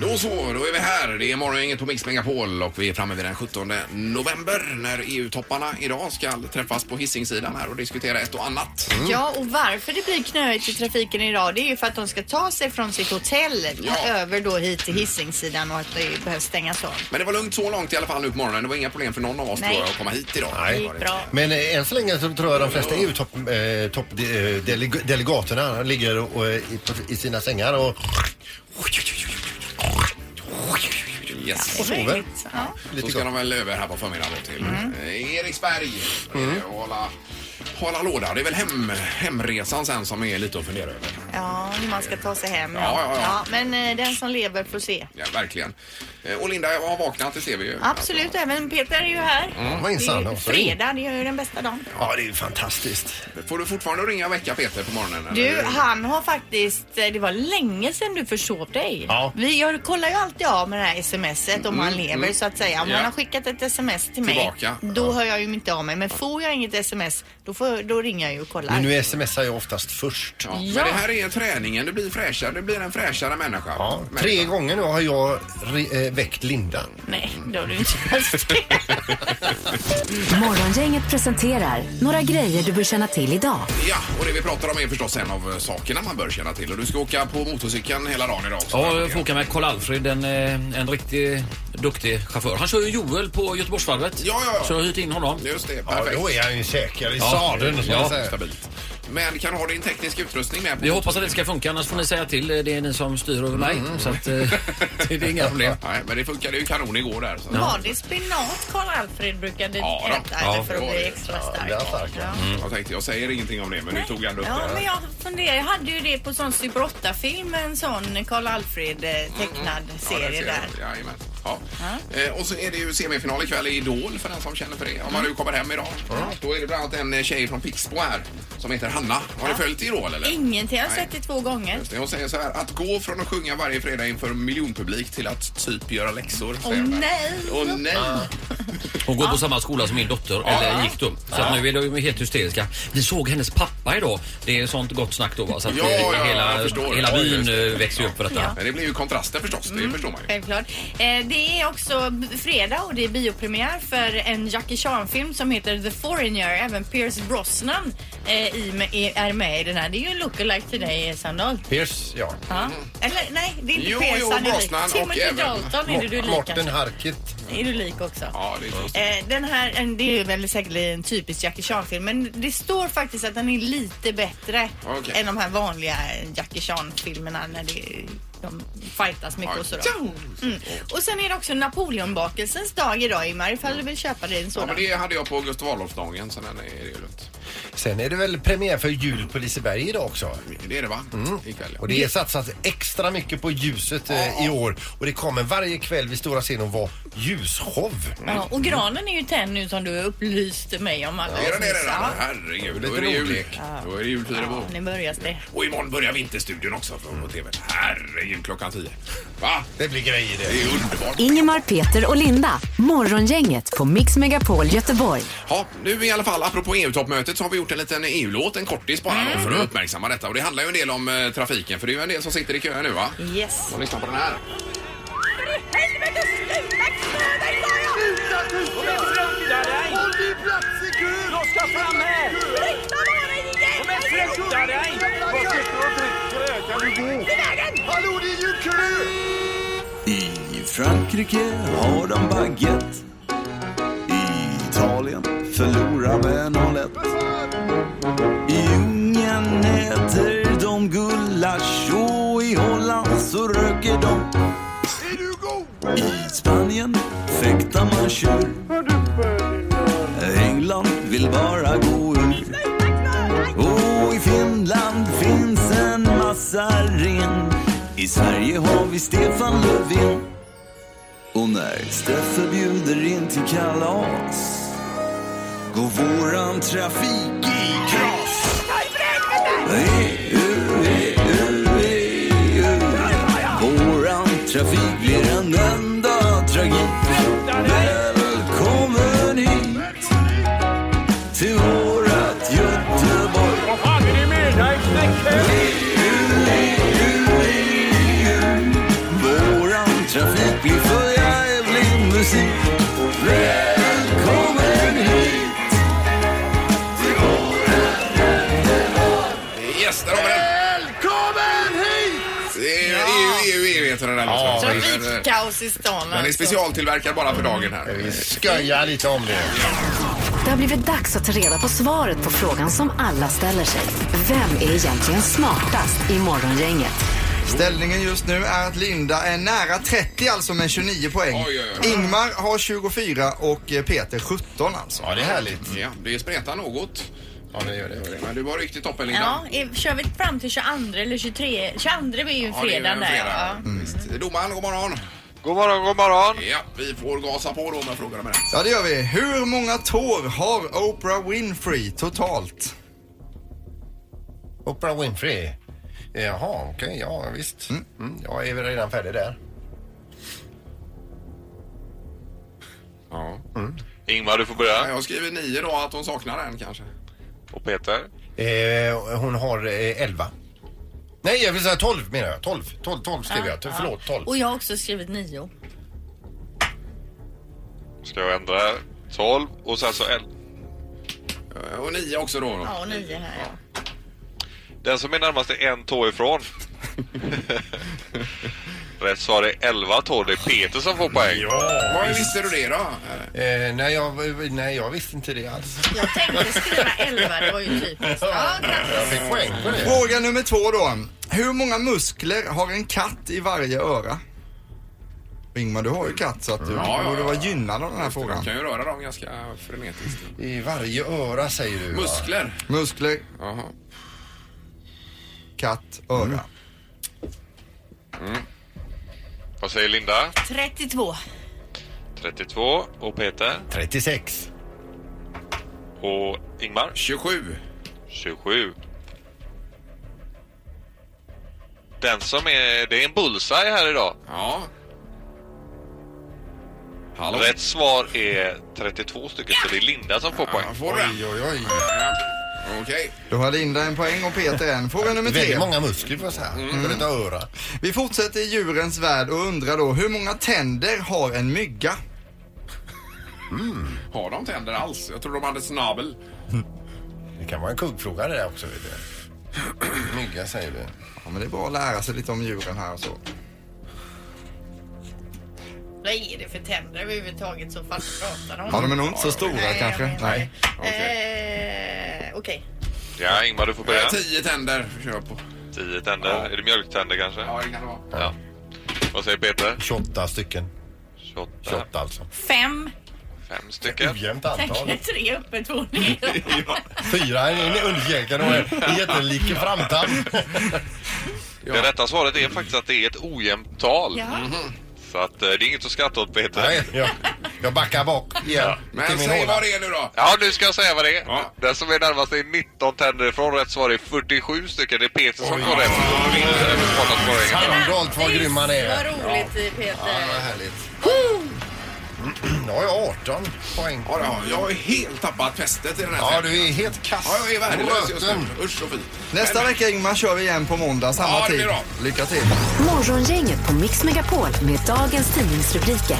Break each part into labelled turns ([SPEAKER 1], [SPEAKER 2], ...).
[SPEAKER 1] då så, då är vi här. Det är morgongänget på Mix Megapol och vi är framme vid den 17 november när E EU-topparna idag ska träffas på Hisingssidan här och diskutera ett och annat.
[SPEAKER 2] Ja, och varför det blir knöigt i trafiken idag det är ju för att de ska ta sig från sitt hotell
[SPEAKER 1] Ja.
[SPEAKER 2] över då hit till Hisingssidan och att det behövs stängas av.
[SPEAKER 1] Men det var lugnt så långt i alla fall nu på morgonen. Det var inga problem för någon av oss
[SPEAKER 2] Nej.
[SPEAKER 1] tror jag att komma hit idag.
[SPEAKER 2] Det gick bra.
[SPEAKER 3] Men eh, än så länge så tror jag de flesta EU-delegaterna eh, topp- eh, deleg- delegaterna ligger och, eh, i, på- i sina sängar och
[SPEAKER 1] Yes.
[SPEAKER 2] Det är
[SPEAKER 3] sover.
[SPEAKER 2] möjligt. Ja.
[SPEAKER 1] Så
[SPEAKER 3] lite
[SPEAKER 1] ska
[SPEAKER 3] gott.
[SPEAKER 1] de väl över här på förmiddagen då till
[SPEAKER 2] Mm.
[SPEAKER 1] eh, Eriksberg eh, och hålla, hålla låda. Det är väl hem, hemresan sen som är lite att fundera över.
[SPEAKER 2] ja, hur man ska ta sig hem.
[SPEAKER 1] Ja, ja, ja.
[SPEAKER 2] men eh, den som lever får se.
[SPEAKER 1] Ja, verkligen. Eh, Och Linda jag har vaknat, det ser vi ju.
[SPEAKER 2] Absolut, även Peter är ju här.
[SPEAKER 1] Mm.
[SPEAKER 3] Vad
[SPEAKER 2] Det är ju
[SPEAKER 3] insan.
[SPEAKER 2] fredag, det är ju den bästa dagen.
[SPEAKER 3] Ja, det är ju fantastiskt.
[SPEAKER 1] Får du fortfarande ringa och väcka Peter på morgonen? eller?
[SPEAKER 2] Du, han har faktiskt... eh, Det var länge sedan du försov dig.
[SPEAKER 3] Ja.
[SPEAKER 2] Vi, jag kollar ju alltid av med det här smset om han lever så att säga. Om
[SPEAKER 1] Mm, Ja.
[SPEAKER 2] han har skickat ett sms till mig,
[SPEAKER 1] Tillbaka.
[SPEAKER 2] då hör jag ju inte av mig. Men får jag inget sms, då, får, då ringer jag ju och kollar.
[SPEAKER 3] Men nu smsar jag oftast först.
[SPEAKER 1] Ja,
[SPEAKER 2] Ja.
[SPEAKER 1] Men det här är träningen, du blir fräschare, du blir en fräschare människa.
[SPEAKER 3] Ja,
[SPEAKER 1] Människa.
[SPEAKER 3] tre gånger nu har jag re, eh, väckt Linda.
[SPEAKER 2] Nej, då har du inte behövt det.
[SPEAKER 4] Morgongänget presenterar några grejer du bör känna till idag.
[SPEAKER 1] Ja, och det vi pratar om är förstås en av eh, sakerna man bör känna till. Och du ska åka på motorcykeln hela dagen idag också.
[SPEAKER 5] Ja, jag får åka med Karl Alfred, en, eh, en riktigt duktig chaufför. Han kör ju Joel på Göteborgsvarvet.
[SPEAKER 1] Ja, ja, ja.
[SPEAKER 5] Så jag har hyrt in honom.
[SPEAKER 1] Just det,
[SPEAKER 3] Ja,
[SPEAKER 1] perfekt.
[SPEAKER 3] då är han ju säker i
[SPEAKER 5] Ja.
[SPEAKER 3] sadeln. som
[SPEAKER 5] Ja.
[SPEAKER 3] man säger.
[SPEAKER 1] Stabilt. Men kan du ha din tekniska utrustning med? På
[SPEAKER 5] Vi hoppas att det ska funka, annars får ni säga till. Det är ni som styr över mig. Så att, eh, det är inga problem.
[SPEAKER 1] Nej, men det funkade ju kanon igår där. Så.
[SPEAKER 2] Var det spinat Karl-Alfred brukade
[SPEAKER 1] Ja, då.
[SPEAKER 2] äta
[SPEAKER 1] Ja,
[SPEAKER 2] eller för
[SPEAKER 1] det
[SPEAKER 2] att
[SPEAKER 1] var
[SPEAKER 2] bli
[SPEAKER 1] det.
[SPEAKER 2] extra
[SPEAKER 3] Ja,
[SPEAKER 2] stark?
[SPEAKER 3] det är stark, ja.
[SPEAKER 1] Jag tänkte, jag säger ingenting om det, men du tog ändå upp
[SPEAKER 2] Ja,
[SPEAKER 1] det.
[SPEAKER 2] men jag funderar. Jag hade ju det på sån Super 8-film, en sån Karl Alfred eh, tecknad
[SPEAKER 1] Mm, Ja,
[SPEAKER 2] serie
[SPEAKER 1] ser
[SPEAKER 2] där.
[SPEAKER 1] jag. Jajamän. Ja. Eh, och så är det ju semifinal ikväll i Idol för den som känner för det. Om man nu kommer hem idag. Då är det bland annat en eh, tjej från Pixbo här som heter Hanna. Har du följt Idol eller?
[SPEAKER 2] Ingenting. Jag har
[SPEAKER 1] Nej.
[SPEAKER 2] sett det två gånger.
[SPEAKER 1] Just det, Hon säger så här, att gå från att sjunga varje fredag inför miljonpublik till att typ göra läxor.
[SPEAKER 2] Åh
[SPEAKER 1] säger hon där.
[SPEAKER 2] nej!
[SPEAKER 1] Åh nej!
[SPEAKER 5] Hon går på samma skola som min dotter, eller gick då. Så att nu är de ju helt hysteriska. Vi såg hennes pappa idag. Det är sånt gott snack då va? Så att
[SPEAKER 1] Ja,
[SPEAKER 5] eh,
[SPEAKER 1] ja, jag förstår.
[SPEAKER 5] hela, hela
[SPEAKER 1] Ja,
[SPEAKER 5] byn
[SPEAKER 1] just det.
[SPEAKER 5] eh, växer ju upp för detta.
[SPEAKER 1] Men det blir ju kontraster förstås,
[SPEAKER 2] Mm.
[SPEAKER 1] det förstår man ju.
[SPEAKER 2] Självklart. Eh, det är också b- fredag och det är biopremiär för en Jackie Chan-film som heter The Foreigner. Även Pierce Brosnan eh, i, med- i- är med i den här. Det är ju en lookalike till dig, Sandahl.
[SPEAKER 3] Pierce, ja.
[SPEAKER 2] Ja. Eller nej, det är
[SPEAKER 1] Mm.
[SPEAKER 2] inte
[SPEAKER 1] Jo,
[SPEAKER 2] Pierce
[SPEAKER 1] jo,
[SPEAKER 2] han är lik.
[SPEAKER 1] Brosnan och
[SPEAKER 2] Timothy
[SPEAKER 1] även-
[SPEAKER 2] Dalton är du, du är lik.
[SPEAKER 3] Morten Harket.
[SPEAKER 2] Är du lik också?
[SPEAKER 1] Ja, det är så.
[SPEAKER 2] Eh, Den här, en- det är väl säkert en typisk Jackie Chan-film men det står faktiskt att den är lite bättre
[SPEAKER 1] Okej.
[SPEAKER 2] än de här vanliga Jackie Chan-filmerna när det, de fightas mycket och sådär. Mm. Och sen är det också Napoleonbakelsens dag idag Ingmar ifall du vill köpa dig en
[SPEAKER 1] Ja,
[SPEAKER 2] sådan.
[SPEAKER 1] men det hade jag på Gustav Adolfsdagen, så den är det ju lugnt.
[SPEAKER 3] Sen är det väl premiär för jul på Liseberg idag också.
[SPEAKER 1] Det är det va?
[SPEAKER 2] Mm.
[SPEAKER 1] Ikväll. ja.
[SPEAKER 3] Och det är satsat extra mycket på ljuset eh, i år och det kommer varje kväll vid stora scenen att vara ljusshow.
[SPEAKER 2] Ja, och granen är ju tänd nu som du upplyste mig om alldeles
[SPEAKER 1] Är den det
[SPEAKER 2] nyss.
[SPEAKER 1] redan? Herregud, då är det jul. Då är det jul fyra
[SPEAKER 2] Ja,
[SPEAKER 1] på.
[SPEAKER 2] nu börjar det.
[SPEAKER 1] Och imorgon börjar Vinterstudion också från på TV. Herregud, klockan tio. Va?
[SPEAKER 3] Det blir grejer det.
[SPEAKER 1] Det är underbart.
[SPEAKER 4] Ingemar, Peter och Linda. Morgongänget på Mix Megapol Göteborg.
[SPEAKER 1] Ja, nu i alla fall, apropå EU-toppmötet så har vi gjort en liten EU-låt, en kortis bara då,
[SPEAKER 2] Mm.
[SPEAKER 1] för att uppmärksamma detta. Och det handlar ju en del om eh, trafiken, för det är ju en del som sitter i kö nu va?
[SPEAKER 2] Yes.
[SPEAKER 1] Och lyssna på den här.
[SPEAKER 6] I Frankrike har de baguette. I Italien förlorar med 0-1. I Ungern äter de gulasch och i Holland så röker de. I Spanien fäktar man tjur. England vill bara gå ur. Och i Finland finns en massa ren. I Sverige har vi Stefan Löfven. Och när Steffe bjuder in till kalas går våran trafik i kras. EU, EU, EU. Våran trafik blir en enda tragik. Välkommen hit till vårat Göteborg. Vad fan är det med dig,
[SPEAKER 1] Det är E EU, EU, EU heter den där
[SPEAKER 3] Ja,
[SPEAKER 1] låten. Den är-
[SPEAKER 2] Trafikkaos i stan
[SPEAKER 1] Den är specialtillverkad bara för dagen här.
[SPEAKER 3] Vi skojar lite om det.
[SPEAKER 4] Det har blivit dags att ta reda på svaret på frågan som alla ställer sig. Vem är egentligen smartast i Morgongänget?
[SPEAKER 7] Ställningen just nu är att Linda är nära 30 alltså med 29 poäng.
[SPEAKER 1] Oj, oj, oj.
[SPEAKER 7] Ingmar har 24 och eh, Peter 17 alltså.
[SPEAKER 3] Ja, det är härligt.
[SPEAKER 1] Ja, det spretar något.
[SPEAKER 3] Ja, det gör det.
[SPEAKER 1] Men du var riktigt toppen
[SPEAKER 2] Ja,
[SPEAKER 1] Linda.
[SPEAKER 2] i- kör vi fram till 22 eller 23? 22 blir ju
[SPEAKER 1] Ja, det är ju
[SPEAKER 2] fredagen
[SPEAKER 1] en
[SPEAKER 2] där.
[SPEAKER 1] fredag.
[SPEAKER 2] Ja.
[SPEAKER 1] Visst. Domaren, god morgon.
[SPEAKER 8] God morgon, god morgon.
[SPEAKER 1] Ja, vi får gasa på då med frågorna med det.
[SPEAKER 7] Ja, det gör vi. Hur många tår har Oprah Winfrey totalt?
[SPEAKER 3] Oprah Winfrey. Eh, Jaha, okej. ja, visst. Mm, jag är väl redan färdig där.
[SPEAKER 8] Ingmar, du får
[SPEAKER 1] Ja,
[SPEAKER 8] börja.
[SPEAKER 1] Jag skriver nio då, att hon saknar en kanske.
[SPEAKER 8] Och Peter.
[SPEAKER 3] Eh, hon har eh, 11. Nej, jag vill säga 12 menar jag. 12, 12, 12 skrev jag. Förlåt, 12.
[SPEAKER 2] Och jag har också skrivit nio.
[SPEAKER 8] Ska jag ändra här. 12 och sen så L.
[SPEAKER 1] Eh, Och nio också då. då.
[SPEAKER 2] Ja, och nio här. ja.
[SPEAKER 8] Den som är närmast är en tå ifrån. Rätt svar är 11 tår. Det är Peter som får poäng.
[SPEAKER 1] Var visste du det då? Eh,
[SPEAKER 3] Eh, nej, jag, nej, jag visste inte det alls.
[SPEAKER 2] Jag tänkte skriva 11, det var ju typiskt. Ja, grattis.
[SPEAKER 3] Jag fick poäng på det.
[SPEAKER 7] Fråga nummer två då. Hur många muskler har en katt i varje öra? Och Ingmar, du har ju katt så att du
[SPEAKER 1] ja,
[SPEAKER 7] borde
[SPEAKER 1] ja.
[SPEAKER 7] vara gynnad av den här frågan.
[SPEAKER 1] Kan ju röra dem ganska frenetiskt.
[SPEAKER 3] I varje öra säger du. va?
[SPEAKER 1] Muskler.
[SPEAKER 7] Muskler,
[SPEAKER 1] Jaha.
[SPEAKER 7] katt, öra.
[SPEAKER 8] Vad säger Linda?
[SPEAKER 2] 32.
[SPEAKER 8] 32. Och Peter?
[SPEAKER 3] 36.
[SPEAKER 8] Och Ingmar?
[SPEAKER 1] 27.
[SPEAKER 8] 27. Den som är... Det är en bullseye här idag.
[SPEAKER 1] Ja. Hallå?
[SPEAKER 8] Rätt svar är 32 stycken, så det är Linda som får poäng.
[SPEAKER 1] Ja, får du den?
[SPEAKER 3] Oj, oj, oj.
[SPEAKER 1] Okej.
[SPEAKER 7] Då har Linda en poäng och Peter en. Fråga nummer tre.
[SPEAKER 3] Väldigt många muskler får jag Mm. säga. För ett öra.
[SPEAKER 7] Vi fortsätter i djurens värld och undrar då hur många tänder har en mygga?
[SPEAKER 1] Har de tänder alls? Jag tror de hade snabel.
[SPEAKER 3] Det kan vara en kuggfråga det där också. Vet du. Mygga säger du.
[SPEAKER 7] Ja, men det är bra att lära sig lite om djuren här och så.
[SPEAKER 2] Vad är det för tänder överhuvudtaget som fast pratar om?
[SPEAKER 7] Ja, de är nog inte så stora
[SPEAKER 2] Nej, jag
[SPEAKER 7] kanske.
[SPEAKER 2] menar
[SPEAKER 7] Nej.
[SPEAKER 2] det. Eh, Okej.
[SPEAKER 8] Ja, Ingmar, du får börja.
[SPEAKER 1] Eh, Tio tänder kör jag på.
[SPEAKER 8] 10 tänder. Är det mjölktänder kanske?
[SPEAKER 1] Ja, det kan det vara.
[SPEAKER 8] Ja. Vad säger Peter?
[SPEAKER 3] 28 stycken.
[SPEAKER 8] 28.
[SPEAKER 3] 28 alltså.
[SPEAKER 2] Fem.
[SPEAKER 8] Fem stycken.
[SPEAKER 3] Ojämnt antal.
[SPEAKER 2] Tänk tre uppe, två ner.
[SPEAKER 3] Fyra är en underkäke och en jättelik framtam.
[SPEAKER 8] Det rätta svaret är faktiskt att det är ett ojämnt tal.
[SPEAKER 2] Ja.
[SPEAKER 9] Mhm.
[SPEAKER 8] Så att, eh, det är inget att skratta åt Peter.
[SPEAKER 3] Nej, jag, jag backar bak igen. till
[SPEAKER 1] Men
[SPEAKER 3] min
[SPEAKER 1] säg
[SPEAKER 3] håla.
[SPEAKER 1] vad det är nu då.
[SPEAKER 8] Ja, nu ska jag säga vad det är.
[SPEAKER 1] Ja.
[SPEAKER 8] Den som är närmast är 19 tänder ifrån. Rätt svar är 47 stycken. Det är Peter som
[SPEAKER 3] Oj.
[SPEAKER 8] får rätt. Och vinner över Spartans Borgänge.
[SPEAKER 3] Sandholt, vad grym han
[SPEAKER 2] Vad
[SPEAKER 3] är.
[SPEAKER 2] roligt Peter.
[SPEAKER 3] härligt. Nu har jag 18 poäng.
[SPEAKER 1] Ja, det har jag. jag har helt tappat fästet i den här
[SPEAKER 3] Ja,
[SPEAKER 1] tävlingen.
[SPEAKER 3] du är helt kass.
[SPEAKER 1] ja, jag är värdelös just
[SPEAKER 3] Röten.
[SPEAKER 1] nu. Usch och fy.
[SPEAKER 7] Nästa
[SPEAKER 1] Men-
[SPEAKER 7] vecka Ingmar kör vi igen på måndag samma
[SPEAKER 1] Ja, det blir
[SPEAKER 7] tid.
[SPEAKER 1] bra.
[SPEAKER 7] Lycka till.
[SPEAKER 4] Morgongänget på Mix Megapol med dagens tidningsrubriker.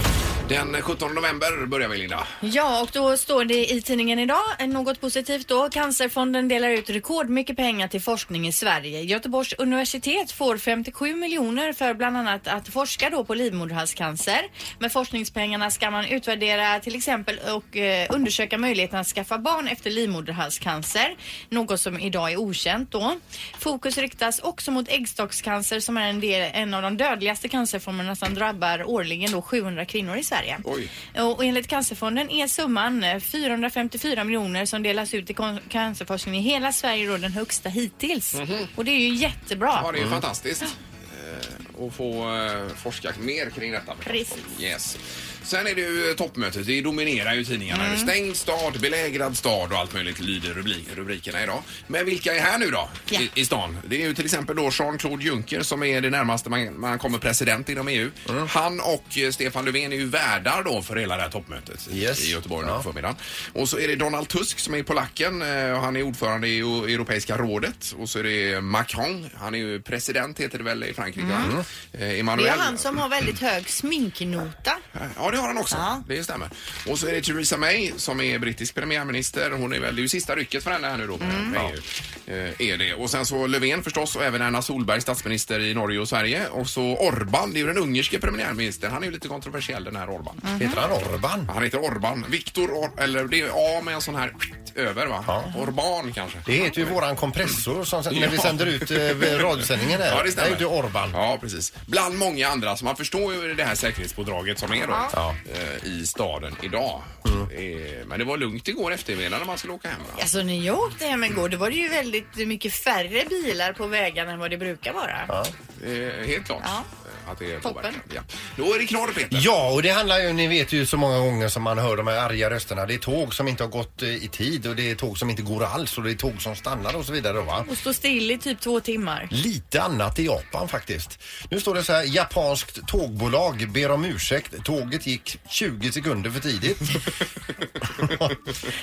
[SPEAKER 1] Den 17 november börjar vi, Linda.
[SPEAKER 2] Ja, och då står det i tidningen idag, eh, något positivt då. Cancerfonden delar ut rekordmycket pengar till forskning i Sverige. Göteborgs universitet får 57 miljoner för bland annat att forska då på livmoderhalscancer. Med forskningspengarna ska man utvärdera till exempel och eh, undersöka möjligheten att skaffa barn efter livmoderhalscancer. Något som idag är okänt då. Fokus riktas också mot äggstockscancer som är en, del, en av de dödligaste cancerformerna som drabbar årligen då 700 kvinnor i Sverige.
[SPEAKER 1] Oj.
[SPEAKER 2] Och enligt Cancerfonden är summan eh, 454 miljoner som delas ut till kon- cancerforskning i hela Sverige då den högsta hittills. Och det är ju jättebra.
[SPEAKER 1] Mhm. Ja, det är
[SPEAKER 3] Mm.
[SPEAKER 1] fantastiskt. eh, att få eh, forska mer kring detta.
[SPEAKER 2] Precis.
[SPEAKER 1] Yes. Sen är det ju eh, toppmötet. Det dominerar ju tidningarna.
[SPEAKER 2] Mm.
[SPEAKER 1] Stängd stad, belägrad stad och allt möjligt lyder rubrik, rubrikerna idag. Men vilka är här nu då
[SPEAKER 2] Ja.
[SPEAKER 1] i, i stan? Det är ju till exempel då Jean-Claude Juncker som är det närmaste man, man kommer president inom EU.
[SPEAKER 2] Mm.
[SPEAKER 1] Han och eh, Stefan Löfven är ju värdar då för hela det här toppmötet i-
[SPEAKER 3] Yes.
[SPEAKER 1] i Göteborg nu
[SPEAKER 3] Ja.
[SPEAKER 1] på förmiddagen. Och så är det Donald Tusk som är polacken eh, och han är ordförande i o- Europeiska rådet. Och så är det Macron, han är ju president heter det väl i Frankrike. va? Eh,
[SPEAKER 2] Mm. Det
[SPEAKER 1] Emanuel.
[SPEAKER 2] är han som har väldigt hög sminknota.
[SPEAKER 1] Ja, det har han också.
[SPEAKER 2] Ja.
[SPEAKER 1] Det stämmer. Och så är det Theresa May som är brittisk premiärminister. Hon är väl, det är ju sista rycket för henne här nu då. Med EU. Eh, är det. Och sen så Löfven förstås och även Erna Solberg, statsminister i Norge och Sverige. Och så Orban, det är ju den ungerske premiärministern. Han är ju lite kontroversiell den här Orban.
[SPEAKER 3] Heter han Orban?
[SPEAKER 1] Han heter Orban. Viktor, Or- eller det är A med en sån här över va?
[SPEAKER 3] Ja.
[SPEAKER 1] Orban kanske.
[SPEAKER 3] Det heter ju våran kompressor som, när vi
[SPEAKER 1] Ja.
[SPEAKER 3] sänder ut eh, radiosändningen här.
[SPEAKER 1] Ja, det stämmer.
[SPEAKER 3] är ju Orban.
[SPEAKER 1] Ja, precis. Bland många andra. Så man förstår ju det här säkerhetspådraget som är då
[SPEAKER 3] Ja. Mm.
[SPEAKER 1] eh, i staden idag. Eh, Men det var lugnt igår eftermiddag när man skulle åka hem. Va?
[SPEAKER 2] Alltså när jag åkte hem igår då var det ju väldigt mycket färre bilar på vägarna än vad det brukar vara.
[SPEAKER 1] Eh, Helt klart.
[SPEAKER 2] Ja.
[SPEAKER 1] eh, Att det är
[SPEAKER 2] Toppen.
[SPEAKER 1] påverkan. Ja. Då är det knorr, Peter.
[SPEAKER 3] Ja, och det handlar ju, ni vet ju så många gånger som man hör de här arga rösterna. Det är tåg som inte har gått eh, i tid och det är tåg som inte går alls och det är tåg som stannar och så vidare va.
[SPEAKER 2] Och stå still i typ två timmar.
[SPEAKER 3] Lite annat i Japan faktiskt. Nu står det så här, japanskt tågbolag ber om ursäkt. Tåget gick 20 sekunder för tidigt.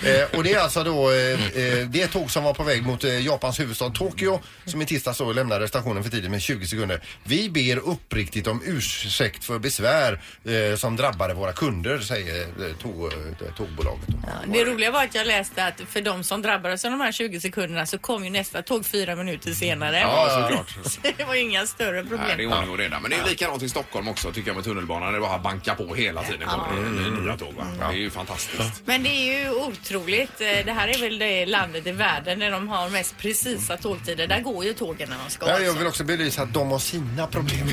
[SPEAKER 3] eh, och det är alltså då, eh, eh, det är ett tåg som var på väg mot eh, Japans huvudstad Tokyo som i tisdags då lämnade stationen för tidigt med 20 sekunder. Vi ber uppriktigt om ursäkt för besvär eh, som drabbade våra kunder, säger eh, tåg, eh, tågbolaget. Då.
[SPEAKER 2] Ja, Det roliga var att jag läste att för de som drabbades av de här 20 sekunderna så kom ju nästa tåg fyra minuter senare.
[SPEAKER 1] Ja, såklart.
[SPEAKER 2] Så det var ju inga större problem.
[SPEAKER 1] Nej, det är ordning och reda. Men det är likadant i Stockholm också tycker jag med tunnelbanan. Det bara bankar på hela tiden. kommer det
[SPEAKER 3] Mm.
[SPEAKER 1] Nya tåg, va? Det är ju fantastiskt.
[SPEAKER 2] Men det är ju otroligt. Eh, Det här är väl det landet i världen där de har mest precisa tågtider. Där går ju tågen när de ska. alltså.
[SPEAKER 3] Ja, jag vill också belysa att de har sina problem.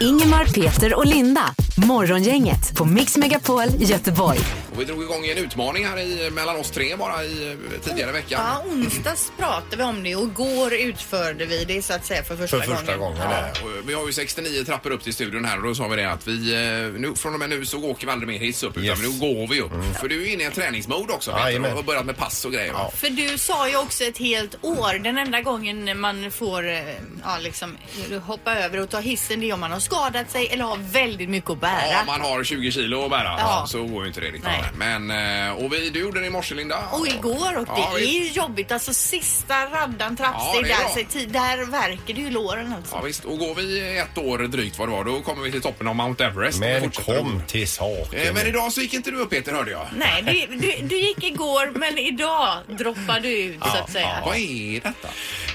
[SPEAKER 4] Ingemar, Peter och Linda. Morgongänget på Mix Megapol Göteborg.
[SPEAKER 1] Och vi drog igång en utmaning här i, mellan oss tre bara i eh, tidigare veckan.
[SPEAKER 2] Ja, onsdags pratade vi om det och igår utförde vi det så att säga för första,
[SPEAKER 3] För första gången.
[SPEAKER 1] Ja, och Eh, vi har ju 69 trappor upp till studion här och då sa vi det att vi, eh, nu, från och med nu så åker vi aldrig mer hiss upp utan
[SPEAKER 3] Yes. Mm.
[SPEAKER 1] nu går vi upp. För du är ju inne i en träningsmode också Peter, och
[SPEAKER 3] Jajamän.
[SPEAKER 1] har börjat med pass och grejer. va?
[SPEAKER 2] För du sa ju också ett helt år. Den enda gången man får eh, ja, liksom, hoppa över och ta hissen det är om man har skadat sig eller har väldigt mycket att bära.
[SPEAKER 1] Ja, om man har 20 kilo att bära
[SPEAKER 2] Ja.
[SPEAKER 1] så går ju inte det riktigt.
[SPEAKER 2] Nej.
[SPEAKER 1] Men, eh, och vi, du gjorde det i morse Linda.
[SPEAKER 2] Och igår och det
[SPEAKER 1] Ja,
[SPEAKER 2] är
[SPEAKER 1] visst.
[SPEAKER 2] ju jobbigt. Alltså sista raddan
[SPEAKER 1] Ja,
[SPEAKER 2] trappsteg
[SPEAKER 1] det är
[SPEAKER 2] där,
[SPEAKER 1] bra.
[SPEAKER 2] sig tid, där verkar det ju låren alltså.
[SPEAKER 1] Ja, visst. Och går vi ett år drygt vad det var, då kommer vi till toppen av Mount Everest.
[SPEAKER 3] Men
[SPEAKER 1] Fortsätter
[SPEAKER 3] kom
[SPEAKER 1] då.
[SPEAKER 3] till saken.
[SPEAKER 1] Eh, Men idag så gick inte du upp Peter hörde jag.
[SPEAKER 2] Nej, du, du, du gick igår men idag droppar du ut så att säga.
[SPEAKER 1] Vad är detta?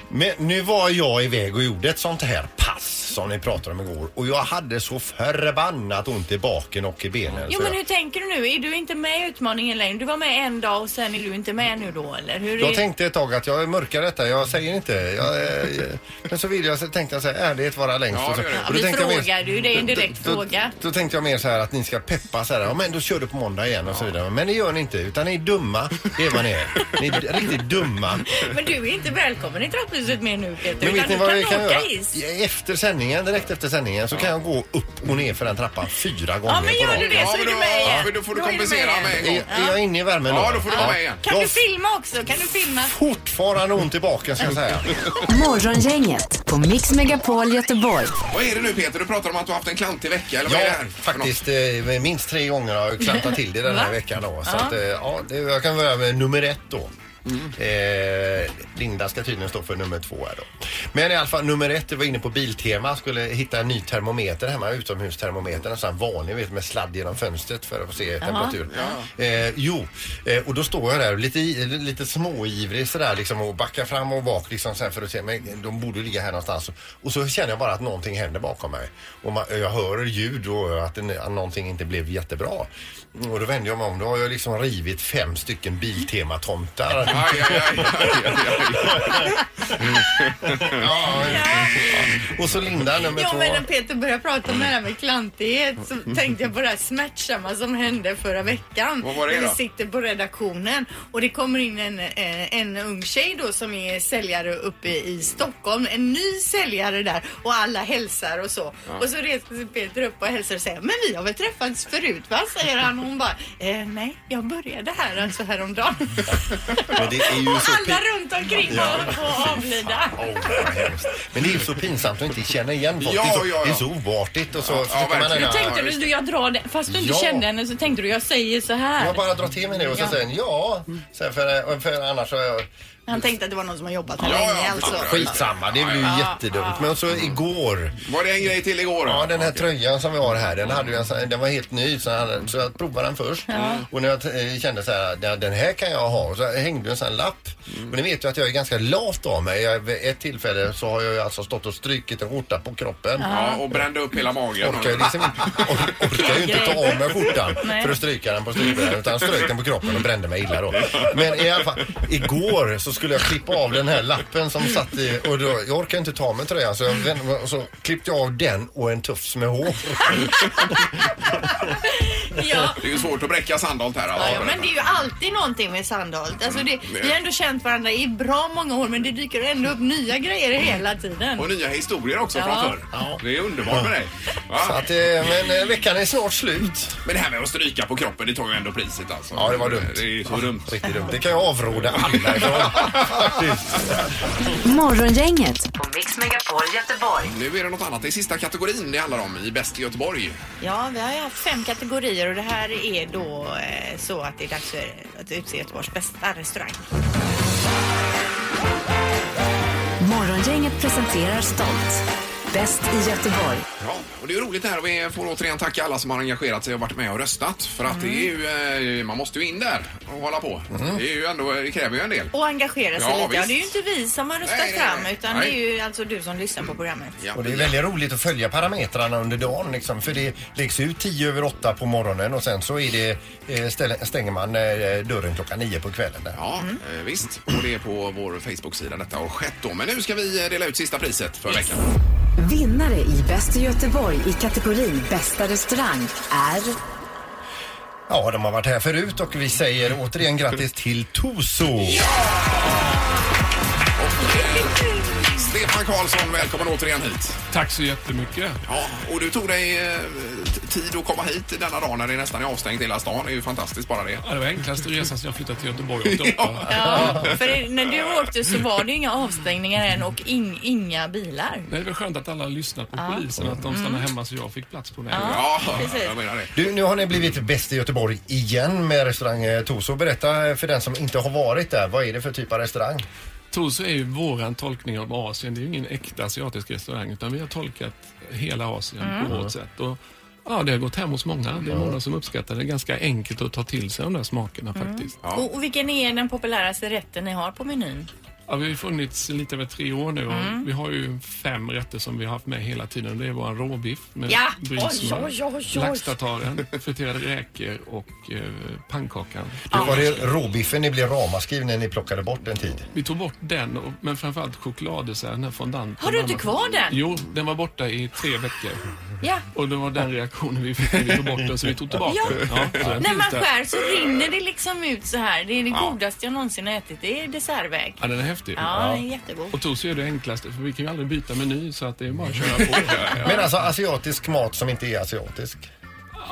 [SPEAKER 3] Men nu var jag iväg och gjorde ett sånt här pass som ni pratade om igår och jag hade så förbannat ont i baken och i benen.
[SPEAKER 2] Jo
[SPEAKER 3] så
[SPEAKER 2] men
[SPEAKER 3] jag,
[SPEAKER 2] hur tänker du nu? Är du inte med i utmaningen längre? Du var med en dag och sen är du inte med nu då eller? Hur är...
[SPEAKER 3] jag tänkte ett tag att jag mörkar detta, jag säger inte. Jag, eh, eh, men så vill jag, så tänkte jag så här, ärlighet vara längst.
[SPEAKER 1] Ja,
[SPEAKER 3] och så,
[SPEAKER 1] det gör det.
[SPEAKER 3] och
[SPEAKER 2] Ja, vi
[SPEAKER 3] tänkte jag mer-
[SPEAKER 2] frågade ju, det är en direkt
[SPEAKER 3] då,
[SPEAKER 2] fråga.
[SPEAKER 3] Då, då tänkte jag mer så här att ni ska peppa så här, ja men då kör du på måndag igen och så vidare. Men det gör ni inte, utan ni är dumma. Det är vad ni är. Ni är d- riktigt dumma.
[SPEAKER 2] Men du är inte välkommen i trapphuset mer nu Peter.
[SPEAKER 3] Men
[SPEAKER 2] utan
[SPEAKER 3] vet ni
[SPEAKER 2] du
[SPEAKER 3] vad
[SPEAKER 2] kan
[SPEAKER 3] vi kan
[SPEAKER 2] åka
[SPEAKER 3] göra?
[SPEAKER 2] hiss.
[SPEAKER 3] Efter sändningen, direkt efter sändningen så kan jag gå upp och ner för den trappan fyra gånger
[SPEAKER 2] Ja men
[SPEAKER 3] på
[SPEAKER 2] gör
[SPEAKER 3] dagen.
[SPEAKER 2] du det
[SPEAKER 1] Ja,
[SPEAKER 2] så
[SPEAKER 1] men
[SPEAKER 2] är du
[SPEAKER 1] då-
[SPEAKER 2] med
[SPEAKER 1] ja,
[SPEAKER 2] igen.
[SPEAKER 1] men då får du
[SPEAKER 2] är med
[SPEAKER 1] kompensera
[SPEAKER 2] igen.
[SPEAKER 1] mig.
[SPEAKER 3] Är, är jag inne i värmen
[SPEAKER 1] Ja, då får du vara med igen.
[SPEAKER 2] Kan
[SPEAKER 3] Jag
[SPEAKER 2] du
[SPEAKER 3] har
[SPEAKER 2] filma också? Kan du filma?
[SPEAKER 3] Fortfarande ont i baken ska jag säga.
[SPEAKER 4] Morgongänget på Mix Megapol Göteborg.
[SPEAKER 1] Vad är det nu Peter? Du pratar om att du har haft en klantig vecka eller vad är det
[SPEAKER 3] Ja,
[SPEAKER 1] här? för något?
[SPEAKER 3] faktiskt eh, minst tre gånger har jag klantat till det den här
[SPEAKER 2] Va?
[SPEAKER 3] veckan då. Så att, eh, ja, det, jag kan börja med nummer ett då.
[SPEAKER 1] Mm.
[SPEAKER 3] Eh, Linda ska tydligen stå för nummer två här då. Men i alla fall nummer ett, det var inne på Biltema, skulle hitta en ny termometer hemma, utomhustermometer, en sån här vanlig vet, med sladd genom fönstret för att få se temperaturen. Eh, jo, eh, och då står jag där lite, i- lite småivrig sådär liksom och backar fram och bak liksom så här för att se, men de borde ligga här någonstans. Och så känner jag bara att någonting händer bakom mig. Och man, jag hör ljud och att, den, att någonting inte blev jättebra. Och då vände jag mig om, då har jag liksom rivit fem stycken Biltema-tomtar.
[SPEAKER 1] Aj, aj, aj, aj, aj, aj.
[SPEAKER 3] Ja, och så Linda nummer
[SPEAKER 2] Ja
[SPEAKER 3] två.
[SPEAKER 2] men när Peter började prata om det här med klantighet så tänkte jag på det här smärtsamma som hände förra veckan.
[SPEAKER 1] Vad var det
[SPEAKER 2] när vi
[SPEAKER 1] då?
[SPEAKER 2] sitter på redaktionen och det kommer in en, eh, en ung tjej då som är säljare uppe i Stockholm. En ny säljare där och alla hälsar och så. Och så reser sig Peter upp och hälsar och säger men vi har väl träffats förut va? Säger han och hon bara eh, nej jag började här alltså häromdagen.
[SPEAKER 3] Men det är ju
[SPEAKER 2] och
[SPEAKER 3] så
[SPEAKER 2] alla
[SPEAKER 3] pin-
[SPEAKER 2] runt omkring var på att avlida.
[SPEAKER 3] Åh, vad hemskt. Men det är ju så pinsamt att inte känna igen folk.
[SPEAKER 1] Ja,
[SPEAKER 3] det, är så,
[SPEAKER 1] ja, ja.
[SPEAKER 3] det är så oartigt och så
[SPEAKER 1] Ja,
[SPEAKER 3] försöker
[SPEAKER 1] ja,
[SPEAKER 3] man
[SPEAKER 1] verkligen.
[SPEAKER 3] ändå-
[SPEAKER 1] Du
[SPEAKER 2] Tänkte du, jag drar det. Fast du inte
[SPEAKER 3] Ja.
[SPEAKER 2] kände henne så tänkte du, jag säger så här.
[SPEAKER 3] Jag bara drar till mig det och så
[SPEAKER 2] Ja.
[SPEAKER 3] säger den ja. Så här, för, för annars så har jag
[SPEAKER 2] Han tänkte att det var någon som har jobbat här
[SPEAKER 1] Ja, ja,
[SPEAKER 2] länge alltså.
[SPEAKER 3] Skitsamma, det blir ju
[SPEAKER 2] Ja,
[SPEAKER 3] jättedumt. Men så igår.
[SPEAKER 1] Var det en grej till igår? då?
[SPEAKER 3] Ja, den här
[SPEAKER 1] Okej.
[SPEAKER 3] tröjan som vi har här, den, hade ju en, sån- den var helt ny så jag, hade, så jag provade den först. Och när jag t- eh, kände så här, "Den- den här kan jag ha, så jag hängde en sån här lapp.
[SPEAKER 2] Mm.
[SPEAKER 3] Och ni vet ju att jag är ganska lat av mig. Jag, vid ett tillfälle så har jag ju alltså stått och strykit en skjorta på kroppen.
[SPEAKER 1] Ja, och brände upp hela magen.
[SPEAKER 3] Orkar ju, liksom, inte- or, orkar ju inte ta av mig skjortan
[SPEAKER 2] Nej.
[SPEAKER 3] för att stryka den på strykbrädan utan strök den på kroppen och brände mig illa då. Men i alla fall, igår så skulle jag klippa av den här lappen som satt i och då, jag orkar inte ta av mig tröjan så, jag, vände- och så klippte jag av den och en tufs med hår.
[SPEAKER 2] Ja.
[SPEAKER 1] Det är ju svårt att bräcka Sandholt här.
[SPEAKER 2] Ja,
[SPEAKER 1] alltså.
[SPEAKER 2] ja, men det är ju alltid någonting med Sandholt. Alltså det, vi har ändå känt varandra i bra många år men det dyker ändå upp nya grejer hela tiden.
[SPEAKER 1] Och nya historier också från
[SPEAKER 2] Ja.
[SPEAKER 1] förr. Det är underbart med dig. Va?
[SPEAKER 3] Så att, eh, men eh, veckan är snart slut.
[SPEAKER 1] Men det här med att stryka på kroppen, det tar ju ändå priset alltså.
[SPEAKER 3] Ja, det var dumt.
[SPEAKER 1] Det är ju så dumt.
[SPEAKER 3] Riktigt dumt. Det kan jag avråda alla ifrån.
[SPEAKER 4] Morgongänget på Mix Megapol Göteborg.
[SPEAKER 1] Nu är det något annat. Det är sista kategorin det handlar om i Bäst i Göteborg.
[SPEAKER 2] Ja, vi har ju haft fem kategorier och det här är då eh, så att det är dags för att utse Göteborgs bästa restaurang.
[SPEAKER 4] Morgongänget presenterar stolt. Bäst i Göteborg.
[SPEAKER 1] Ja, och det är ju roligt det här och vi får återigen tacka alla som har engagerat sig och varit med och röstat. För att det är ju, eh, man måste ju in där och hålla på.
[SPEAKER 3] Mm.
[SPEAKER 1] Det, är ju ändå, det kräver ju en del.
[SPEAKER 2] Och engagera sig
[SPEAKER 1] Ja,
[SPEAKER 2] lite. Ja,
[SPEAKER 1] visst.
[SPEAKER 2] det är ju inte vi som har röstat
[SPEAKER 1] Nej, nej,
[SPEAKER 2] fram
[SPEAKER 1] nej.
[SPEAKER 2] utan
[SPEAKER 1] Nej.
[SPEAKER 2] det är ju alltså du som lyssnar på programmet.
[SPEAKER 1] Ja,
[SPEAKER 3] Och det är väldigt roligt att följa parametrarna under dagen liksom, för det läggs ut 10 över 8 på morgonen och sen så är det, eh, ställ- stänger man eh, dörren klockan 9 på kvällen. Där.
[SPEAKER 1] ja
[SPEAKER 2] Mm.
[SPEAKER 1] eh, visst. Och det är på vår Facebook-sida detta har skett då. Men nu ska vi eh, dela ut sista priset för veckan.
[SPEAKER 4] Vinnare i Bäst i Göteborg i kategorin Bästa restaurang är
[SPEAKER 3] Ja, de har varit här förut och vi säger återigen grattis till Toso.
[SPEAKER 1] Stefan Karlsson, välkommen återigen hit.
[SPEAKER 9] Tack så jättemycket.
[SPEAKER 1] Ja, och du tog dig eh, t- tid att komma hit denna dag när det nästan är avstängt hela stan. Det är ju fantastiskt bara det.
[SPEAKER 9] Ja, det var enklaste resan sedan jag flyttade till Göteborg. Ja.
[SPEAKER 2] Ja, för när du åkte så var det ju inga avstängningar än och ing, inga bilar.
[SPEAKER 9] Det är väl skönt att alla lyssnar på polisen, att de
[SPEAKER 5] Mm.
[SPEAKER 9] stannar hemma så jag fick plats på den. Ja.
[SPEAKER 1] Ja,
[SPEAKER 2] precis.
[SPEAKER 1] jag menar det.
[SPEAKER 3] Du, nu har ni blivit bäst i Göteborg igen med restaurang eh, Toso. Berätta eh, för den som inte har varit där, vad är det för typ av restaurang?
[SPEAKER 9] Torså är ju våran tolkning av Asien. Det är ju ingen äkta asiatisk restaurang utan vi har tolkat hela Asien på vårt sätt. Och, ja, det har gått hem hos många. Det är många som uppskattar det. Det är ganska enkelt att ta till sig de där smakerna faktiskt.
[SPEAKER 1] Ja.
[SPEAKER 2] Och, och vilken är den populäraste rätten ni har på menyn?
[SPEAKER 9] Ja, vi har ju funnits lite över tre år nu och
[SPEAKER 2] Mm.
[SPEAKER 9] vi har ju fem rätter som vi har haft med hela tiden. Det är vår råbiff med
[SPEAKER 2] Ja!
[SPEAKER 9] brynsmör,
[SPEAKER 2] Oj, oj, oj, oj.
[SPEAKER 9] laxtataren, friterade räkor och eh, pannkakan.
[SPEAKER 3] Det var det råbiffen ni blev ramaskriv när ni plockade bort en tid.
[SPEAKER 9] Vi tog bort den, och, men framförallt chokladdesserten, den här fondanten.
[SPEAKER 2] Har du inte kvar den?
[SPEAKER 9] Jo, den var borta i tre veckor.
[SPEAKER 2] Ja.
[SPEAKER 9] Och det var den reaktionen vi fick när vi tog bort den, så vi tog tillbaka
[SPEAKER 2] Ja.
[SPEAKER 9] den. Ja, så den
[SPEAKER 2] När
[SPEAKER 9] finns
[SPEAKER 2] man
[SPEAKER 9] där.
[SPEAKER 2] skär så rinner det liksom ut så här. Det är det godaste jag någonsin har ätit. Det är dessertväg.
[SPEAKER 9] Ja, den är häftig.
[SPEAKER 2] Ja, den är jättegod.
[SPEAKER 9] Och Tosi är det enklaste, för vi kan ju aldrig byta meny, så att det är bara att köra på.
[SPEAKER 3] Men alltså asiatisk mat som inte är asiatisk.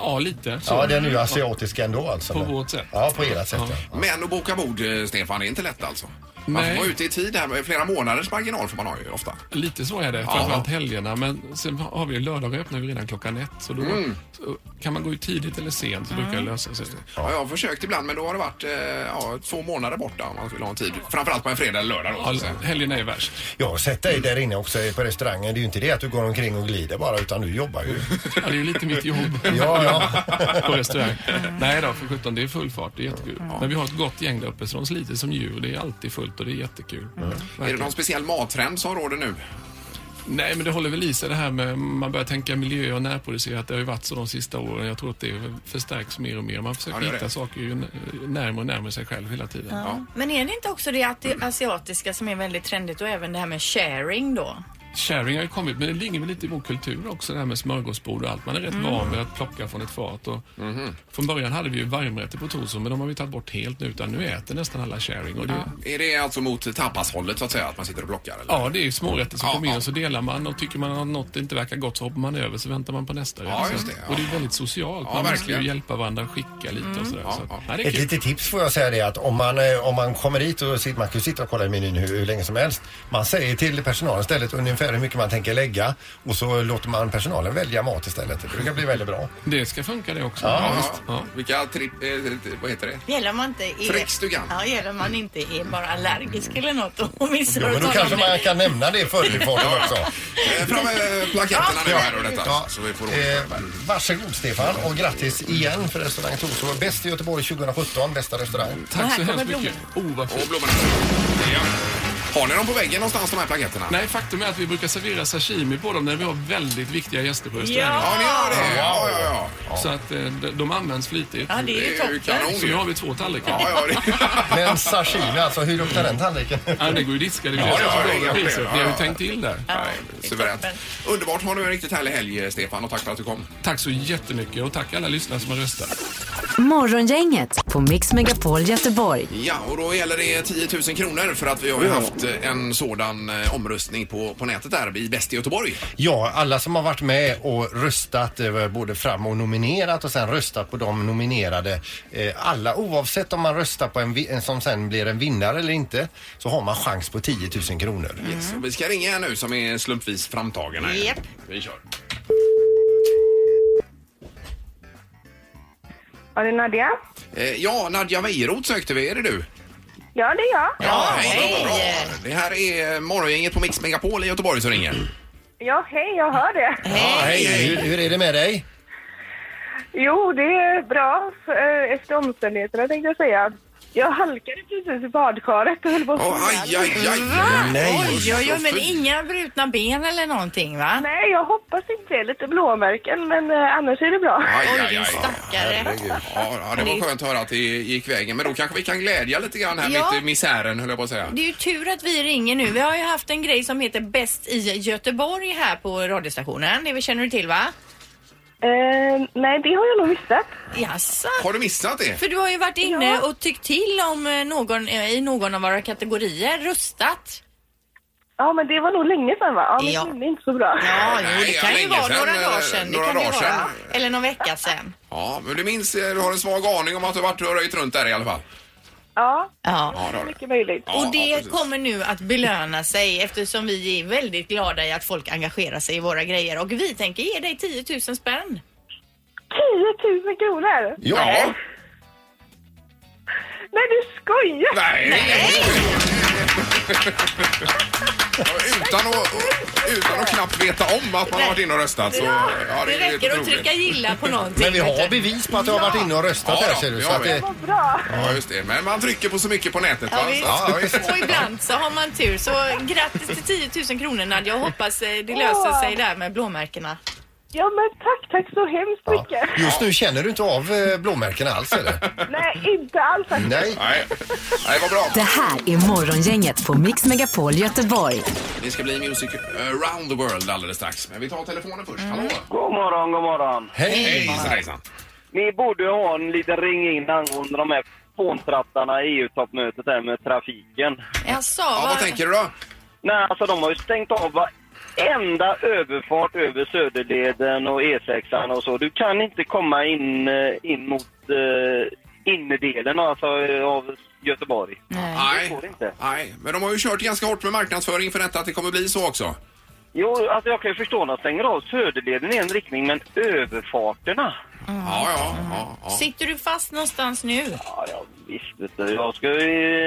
[SPEAKER 9] Ja, lite. Så.
[SPEAKER 3] Ja, den är ju asiatisk ändå alltså.
[SPEAKER 9] På
[SPEAKER 3] men-
[SPEAKER 9] vårt sätt.
[SPEAKER 3] Ja, på ert sätt. Ja.
[SPEAKER 1] Men att boka bord, eh, Stefan, det är inte lätt alltså. Man får
[SPEAKER 9] Nej.
[SPEAKER 1] vara ute i tid här med flera månaders marginal får man ha ju ofta.
[SPEAKER 9] Lite så är det, framförallt helgerna. Men sen har vi lördagar öppnar vi redan klockan ett. Så då
[SPEAKER 1] Mm.
[SPEAKER 9] så kan man gå ut tidigt eller sent så
[SPEAKER 10] Mm.
[SPEAKER 9] brukar det lösa sig.
[SPEAKER 1] Ja, jag har försökt ibland men då har det varit eh, ja, två månader borta om man skulle ha en tid. Framförallt på en fredag eller lördag då.
[SPEAKER 9] Ja,
[SPEAKER 1] så att säga.
[SPEAKER 9] helgerna är värst.
[SPEAKER 3] Jag har sett dig där inne också på restaurangen. Det är ju inte det att du går omkring och glider bara utan du jobbar ju.
[SPEAKER 9] Ja, det är ju lite mitt jobb.
[SPEAKER 3] Ja, ja.
[SPEAKER 9] på restaurang. Nej då, för sjutton, det är full fart. Det är jättekul. Men vi har ett gott gäng där uppe så de sliter som djur. Det är alltid fullt och det är jättekul.
[SPEAKER 1] Är det
[SPEAKER 9] Verkligen.
[SPEAKER 1] någon speciell mattrend som råder nu?
[SPEAKER 9] Nej, men det håller väl i sig det här med man börjar tänka miljö och närproducerat. Det har ju varit så de sista åren. Jag tror att det förstärks mer och mer. Man försöker
[SPEAKER 1] Ja, det är
[SPEAKER 9] hitta
[SPEAKER 1] det.
[SPEAKER 9] saker ju n- närmare och närmare sig själv hela tiden.
[SPEAKER 2] Men är det inte också det att det asiatiska som är väldigt trendigt och även det här med sharing då?
[SPEAKER 9] Sharing har ju kommit, men det ligger väl lite i vår kultur också, det här med smörgåsbord och allt. Man är rätt van vid att plocka från ett fat. Och
[SPEAKER 1] Mhm.
[SPEAKER 9] Från början hade vi ju varmrätter på Torså, men de har vi tagit bort helt nu. Utan nu äter nästan alla sharing. Och det,
[SPEAKER 1] Är det alltså mot tapashållet så att säga, att man sitter och plockar? Eller?
[SPEAKER 9] Ja, det är ju smårätter som
[SPEAKER 1] Ja,
[SPEAKER 9] kommer in
[SPEAKER 1] ja.
[SPEAKER 9] och så delar man och tycker man att något inte verkar gott så hoppar man över så väntar man på nästa
[SPEAKER 1] Ja,
[SPEAKER 9] rätt.
[SPEAKER 1] just
[SPEAKER 9] Så-
[SPEAKER 1] det, ja.
[SPEAKER 9] Och det är ju väldigt socialt.
[SPEAKER 1] Ja,
[SPEAKER 9] man måste
[SPEAKER 1] verkligen.
[SPEAKER 9] ju hjälpa varandra, skicka lite och sådär. så,
[SPEAKER 1] ja.
[SPEAKER 9] att- Nej, det är
[SPEAKER 3] Ett
[SPEAKER 9] kul.
[SPEAKER 3] litet tips får jag säga det är att om man, eh, om man kommer dit och sitter, man kan ju sitta och kolla i menyn hur, hur länge som helst. Man säger till personalen istället ungefär ungefär hur mycket man tänker lägga och så låter man personalen välja mat istället. Det brukar bli väldigt bra.
[SPEAKER 9] Det ska funka det också.
[SPEAKER 1] Ja,
[SPEAKER 9] Ja,
[SPEAKER 1] visst. Ja. Vilka tripp... Eh, vad heter det?
[SPEAKER 2] Gäller man inte är...
[SPEAKER 1] Frextugan.
[SPEAKER 2] Ja, gäller man inte är bara allergisk eller något och missar
[SPEAKER 3] Jo, men
[SPEAKER 2] att
[SPEAKER 3] då
[SPEAKER 2] tala om
[SPEAKER 3] kanske man
[SPEAKER 2] det.
[SPEAKER 3] kan nämna det i förbifarten också.
[SPEAKER 1] Eh, fram med plaketterna nu här och detta.
[SPEAKER 3] Ja.
[SPEAKER 1] Så vi får
[SPEAKER 3] Eh, varsågod Stefan och grattis igen för restaurang Torså. Bäst i Göteborg 2017, bästa restaurang.
[SPEAKER 2] Och
[SPEAKER 9] Tack
[SPEAKER 2] här
[SPEAKER 9] så hemskt
[SPEAKER 2] kommer
[SPEAKER 9] mycket. Oh, vad fint.
[SPEAKER 1] Och blommorna. Ja. Har ni dem på väggen någonstans, de här plaketterna?
[SPEAKER 9] Nej, faktum är att vi brukar servera sashimi på dem när vi har väldigt viktiga gäster på restaurangen.
[SPEAKER 1] Ja, ni gör det. Ja, ja, ja.
[SPEAKER 9] Så att eh, de- de används flitigt.
[SPEAKER 2] Ja, det är ju
[SPEAKER 1] Det är ju
[SPEAKER 2] toppen.
[SPEAKER 1] kanon.
[SPEAKER 9] Så nu har vi två tallrikar.
[SPEAKER 1] Ja, ja, det.
[SPEAKER 3] Men sashimi alltså, hur luktar den tallriken?
[SPEAKER 9] Ja, det går ju diska. Det blir
[SPEAKER 1] Ja,
[SPEAKER 9] ja,
[SPEAKER 1] ja,
[SPEAKER 9] ja,
[SPEAKER 1] ja, ja.
[SPEAKER 9] Ni har ju tänkt till där.
[SPEAKER 1] Nej, Suveränt. Underbart. Ha nu en riktigt härlig helg, Stefan, och tack för att du kom.
[SPEAKER 9] Tack så jättemycket och tack alla lyssnare som har röstat.
[SPEAKER 4] Morgongänget på Mix Megapol Göteborg.
[SPEAKER 1] Ja, och då gäller det 10 000 kronor för att vi har ju haft eh, en sådan eh, omröstning på, på nätet där i Bäst i Göteborg.
[SPEAKER 3] Ja, alla som har varit med och röstat eh, både fram och nominerat och sen röstat på de nominerade. eh, Alla oavsett om man röstar på en, vi- en som sen blir en vinnare eller inte så har man chans på 10 000 kronor.
[SPEAKER 1] Så vi ska ringa en nu som är slumpvis framtagen. här.
[SPEAKER 2] Japp.
[SPEAKER 1] Vi kör.
[SPEAKER 10] Ja, det är Nadja.
[SPEAKER 1] Eh, Ja, Nadja Weirot sökte vi. Är det du?
[SPEAKER 10] Ja, det är jag.
[SPEAKER 1] Ja, hej! Bra. Det här är Morgongänget på Mix Megapol i Göteborg som ringer.
[SPEAKER 10] Ja, hej, jag hör det.
[SPEAKER 3] Ja, hej, hur, hur är det med dig?
[SPEAKER 10] Jo, det är bra eh, efter omständigheterna tänkte jag säga. Jag halkade precis i badkaret och höll på att
[SPEAKER 1] Åh,
[SPEAKER 10] falla.
[SPEAKER 1] aj, aj, aj!
[SPEAKER 2] Va?
[SPEAKER 3] Nej.
[SPEAKER 2] Oj, oj, oj, men inga brutna ben eller någonting va?
[SPEAKER 10] Nej, jag hoppas inte det. Lite blåmärken, men eh, annars är det bra.
[SPEAKER 1] Aj,
[SPEAKER 2] Oj,
[SPEAKER 1] aj,
[SPEAKER 2] din
[SPEAKER 1] aj.
[SPEAKER 2] stackare.
[SPEAKER 1] Ja, ja, det var skönt att höra att det gick vägen. Men då kanske vi kan glädja lite grann här
[SPEAKER 2] Ja.
[SPEAKER 1] mitt i misären, höll jag på att säga.
[SPEAKER 2] Det är ju tur att vi ringer nu. Vi har ju haft en grej som heter Bäst i Göteborg här på radiostationen. Det känner du till va?
[SPEAKER 10] Eh, nej, det har jag nog missat.
[SPEAKER 2] Jaså?
[SPEAKER 1] Har du missat det?
[SPEAKER 2] För du har ju varit inne
[SPEAKER 10] Ja.
[SPEAKER 2] och tyckt till om eh, någon eh, i någon av våra kategorier, röstat.
[SPEAKER 10] Ja, men det var nog länge sedan, va? Ja, mitt
[SPEAKER 2] Ja.
[SPEAKER 10] minne är inte så bra.
[SPEAKER 2] Ja, jo,
[SPEAKER 1] Nej,
[SPEAKER 2] det
[SPEAKER 1] ja,
[SPEAKER 2] kan ju
[SPEAKER 1] länge
[SPEAKER 2] vara
[SPEAKER 1] sedan,
[SPEAKER 2] några
[SPEAKER 1] eh,
[SPEAKER 2] dagar sedan. Det
[SPEAKER 1] några
[SPEAKER 2] kan det
[SPEAKER 1] dagar
[SPEAKER 2] vara.
[SPEAKER 1] sedan.
[SPEAKER 2] Eller någon vecka sedan.
[SPEAKER 1] Ja, men du minns, eh, du har en svag aning om att du har varit och röjt runt där i alla fall.
[SPEAKER 10] Ja,
[SPEAKER 2] Ja.
[SPEAKER 1] Ja, det har du.
[SPEAKER 10] mycket möjligt.
[SPEAKER 1] Ja.
[SPEAKER 2] Och det
[SPEAKER 1] precis.
[SPEAKER 2] kommer nu att belöna sig eftersom vi är väldigt glada i att folk engagerar sig i våra grejer och vi tänker ge dig 10 000 spänn.
[SPEAKER 10] 10 000 kronor!
[SPEAKER 1] Ja.
[SPEAKER 10] Nej, du skojar!
[SPEAKER 1] Nej! Ja, utan, att, utan att knappt veta om att man har varit inne och röstat så... Ja,
[SPEAKER 2] Det
[SPEAKER 1] är
[SPEAKER 2] räcker att
[SPEAKER 1] otroligt.
[SPEAKER 2] trycka gilla på någonting.
[SPEAKER 3] Men vi
[SPEAKER 2] vet
[SPEAKER 3] har
[SPEAKER 2] du.
[SPEAKER 3] bevis på att du har varit inne och röstat
[SPEAKER 1] Ja,
[SPEAKER 3] här
[SPEAKER 1] då,
[SPEAKER 3] ser du.
[SPEAKER 1] det
[SPEAKER 3] Så
[SPEAKER 1] har
[SPEAKER 3] att
[SPEAKER 1] vi.
[SPEAKER 3] det,
[SPEAKER 10] Vad bra!
[SPEAKER 1] Ja, just det. Men man trycker på så mycket på nätet.
[SPEAKER 2] Ja,
[SPEAKER 1] va?
[SPEAKER 2] visst.
[SPEAKER 1] Ja,
[SPEAKER 3] ja, visst.
[SPEAKER 2] Och ibland så har man tur. Så grattis till 10 000 kronor Nadja. Jag hoppas eh, det löser sig där med blåmärkena.
[SPEAKER 10] Ja, men tack, tack så hemskt mycket.
[SPEAKER 3] just nu känner du inte av eh, blåmärkena alls eller?
[SPEAKER 10] Nej, inte alls. faktiskt.
[SPEAKER 3] Nej.
[SPEAKER 1] Nej, Nej vad bra.
[SPEAKER 4] Det här är Morgongänget på Mix Megapol Göteborg.
[SPEAKER 1] Det ska bli Music around the world alldeles strax. Men vi tar telefonen först. Hallå!
[SPEAKER 11] God morgon, god morgon.
[SPEAKER 3] Hej!
[SPEAKER 1] Hejsan, hejsan.
[SPEAKER 11] Ni borde ha en liten ring in angående de här fåntrattarna i EU-toppmötet där med trafiken.
[SPEAKER 2] Jaså,
[SPEAKER 1] Ja, vad tänker du då?
[SPEAKER 11] Nej, alltså de har ju stängt av varenda överfart över Söderleden och E6 och så. Du kan inte komma in, eh, in mot eh, innerdelen alltså, eh, av Göteborg.
[SPEAKER 2] Nej.
[SPEAKER 1] Nej.
[SPEAKER 11] går inte.
[SPEAKER 1] Nej, men de har ju kört ganska hårt med marknadsföring för detta att det kommer bli så också.
[SPEAKER 11] Jo, alltså jag kan ju förstå att de stänger av Söderleden i en riktning, men överfarterna?
[SPEAKER 1] Ja, ja, ja. ja.
[SPEAKER 2] Sitter du fast någonstans nu?
[SPEAKER 11] Ja, ja visst vet du. Jag ska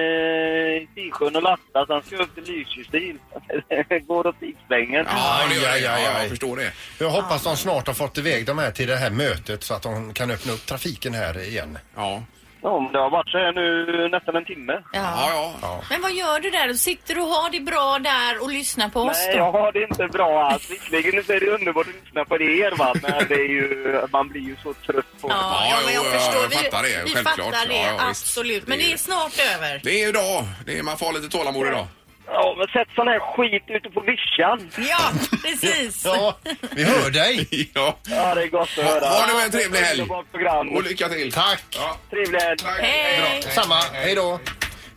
[SPEAKER 11] ju eh, till sjön och lasta, sen ska jag upp till Lysekil. Det går åt tidspängen.
[SPEAKER 1] Ja, det gör det.
[SPEAKER 3] Aj,
[SPEAKER 1] Ja,
[SPEAKER 3] aj, aj.
[SPEAKER 1] jag förstår det.
[SPEAKER 3] Jag hoppas de snart har fått iväg de här till det här mötet så att de kan öppna upp trafiken här igen.
[SPEAKER 1] Ja,
[SPEAKER 11] Ja, men det har varit så här nu nästan en timme.
[SPEAKER 2] Ja.
[SPEAKER 1] ja, ja.
[SPEAKER 2] Men vad gör du där? Sitter du och har det bra där och lyssnar på oss
[SPEAKER 11] Nej,
[SPEAKER 2] då?
[SPEAKER 11] jag har det inte bra alls. Visserligen så är det underbart att lyssna på det er, va? men det är ju, man blir ju så trött på det.
[SPEAKER 2] Ja,
[SPEAKER 1] Ja,
[SPEAKER 2] ja, men jag
[SPEAKER 1] jo,
[SPEAKER 2] förstår.
[SPEAKER 1] jag fattar det,
[SPEAKER 2] vi
[SPEAKER 1] självklart.
[SPEAKER 2] fattar det,
[SPEAKER 1] Ja, ja, visst.
[SPEAKER 2] absolut. Men
[SPEAKER 1] Det är-
[SPEAKER 2] det är snart över.
[SPEAKER 1] Det är ju idag. Det är, man får ha lite tålamod idag.
[SPEAKER 11] Ja, men sätt sån här skit ute på vischan.
[SPEAKER 2] Ja, precis.
[SPEAKER 3] Ja, vi hör dig!
[SPEAKER 1] Ja.
[SPEAKER 11] Ja, det är gott att höra.
[SPEAKER 1] ha nu en trevlig helg.
[SPEAKER 11] Underbart program.
[SPEAKER 1] Och lycka till.
[SPEAKER 3] Tack!
[SPEAKER 1] Ja,
[SPEAKER 11] Trevlig helg.
[SPEAKER 1] tack.
[SPEAKER 2] Hej!
[SPEAKER 3] Samma, hej då!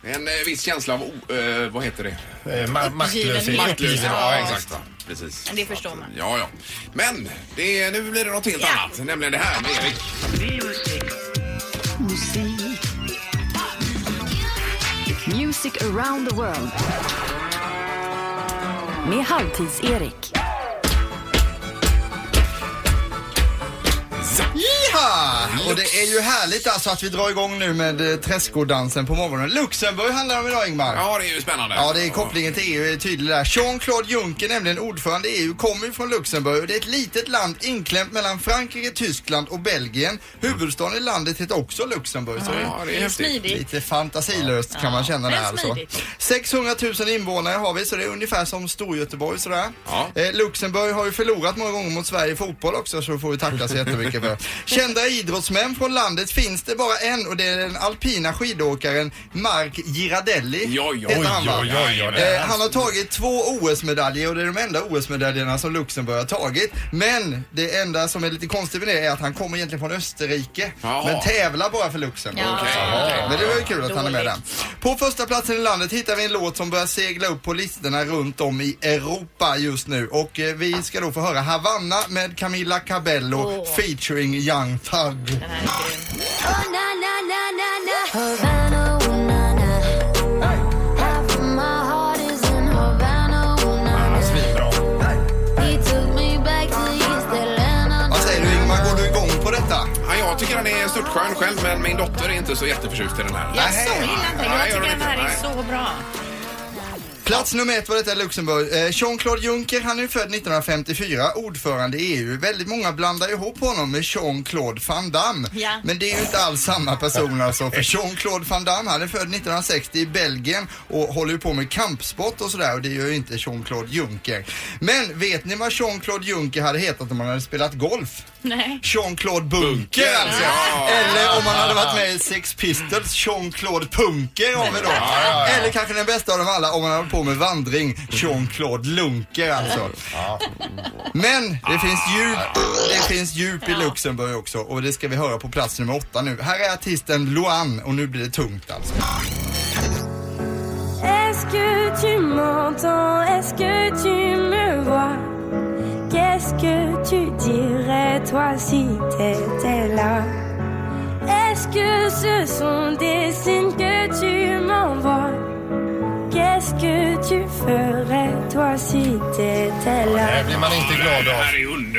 [SPEAKER 1] En eh, viss känsla av, o- eh, vad heter det?
[SPEAKER 3] Eh, ma- maktlöshet.
[SPEAKER 1] Maktlöshet. Ja,
[SPEAKER 3] Ja,
[SPEAKER 1] exakt. va. Precis.
[SPEAKER 2] Det förstår man.
[SPEAKER 1] Ja, ja. Men det, nu blir det något helt
[SPEAKER 2] Ja.
[SPEAKER 1] annat, nämligen det här med Erik.
[SPEAKER 4] Music around the world. med Halvtids-Erik.
[SPEAKER 7] Jaha! Och det är ju härligt alltså att vi drar igång nu med eh, träskodansen på morgonen. Luxemburg handlar det om idag Ingmar.
[SPEAKER 1] Ja, det är ju spännande.
[SPEAKER 7] Ja, det är kopplingen till EU är tydlig där. Jean-Claude Juncker, nämligen ordförande i EU, kommer ju från Luxemburg och det är ett litet land inklämt mellan Frankrike, Tyskland och Belgien. Huvudstaden i landet heter också Luxemburg. så
[SPEAKER 1] Ja, det är häftigt. Smidigt.
[SPEAKER 7] Lite fantasilöst kan man känna det
[SPEAKER 1] men
[SPEAKER 7] här alltså.
[SPEAKER 1] smidigt.
[SPEAKER 7] 600 000 invånare har vi, så det är ungefär som Storgöteborg sådär. Eh, Luxemburg har ju förlorat många gånger mot Sverige i fotboll också, så får vi tacka så jättemycket för. Kända idrottsmän från landet finns det bara en och det är den alpina skidåkaren Mark Girardelli.
[SPEAKER 1] oj,
[SPEAKER 7] Heter han, va?
[SPEAKER 1] oj, oj, oj, det
[SPEAKER 7] Eh,
[SPEAKER 1] här-
[SPEAKER 7] Han har tagit två OS-medaljer och det är de enda OS-medaljerna som Luxemburg har tagit. Men det enda som är lite konstigt med det är att han kommer egentligen från Österrike
[SPEAKER 1] Jaha.
[SPEAKER 7] men tävlar bara för Luxemburg.
[SPEAKER 1] Ja. Okej,
[SPEAKER 7] Jaha.
[SPEAKER 1] okej.
[SPEAKER 7] Men det var ju kul att han är med där.
[SPEAKER 1] Dåligt.
[SPEAKER 7] På första platsen i landet hittar vi en låt som börjar segla upp på listorna runt om i Europa just nu. Och eh, vi ska då få höra Havanna med Camila Cabello featuring Young Thug. Vad säger du Ingmar, går du igång på detta?
[SPEAKER 1] Ja, jag tycker den är störtskön själv men min dotter är inte så jätteförtjust i den här.
[SPEAKER 2] Jag så gillar inte. Jag
[SPEAKER 1] Nej,
[SPEAKER 2] tycker
[SPEAKER 1] gör
[SPEAKER 2] att det här är så bra.
[SPEAKER 7] Plats nummer ett var detta i Luxemburg. Eh, Jean-Claude Juncker, han är ju född 1954, ordförande i EU. Väldigt många blandar ihop honom med Jean-Claude Van Damme.
[SPEAKER 12] Ja.
[SPEAKER 7] Men det är ju inte alls samma person alltså. För Jean-Claude Van Damme, han är född 1960 i Belgien och håller ju på med kampsport och sådär och det gör ju inte Jean-Claude Juncker. Men vet ni vad Jean-Claude Juncker hade hetat om han hade spelat golf?
[SPEAKER 2] Nej.
[SPEAKER 7] Jean-Claude Bunker alltså.
[SPEAKER 12] Ja.
[SPEAKER 7] Eller om han hade varit med i Sex Pistols, Jean-Claude Punker har vi då.
[SPEAKER 12] Ja, ja, ja.
[SPEAKER 7] Eller kanske den bästa av dem alla om han hade på med vandring, Jean-Claude Lunker alltså. Men det finns
[SPEAKER 12] Ah.
[SPEAKER 7] djup, det finns djup i Luxemburg också och det ska vi höra på plats nummer åtta nu. Här är artisten Luan och nu blir det tungt alltså.
[SPEAKER 13] Est-ce que tu m'entends Est-ce que tu me vois Qu'est-ce que tu dirais toi si t'étais là Est-ce que ce sont des signes que tu m'envoies Qu'est-ce que tu ferais toi si t'étais
[SPEAKER 3] Det
[SPEAKER 13] là
[SPEAKER 3] här blir man inte glad av.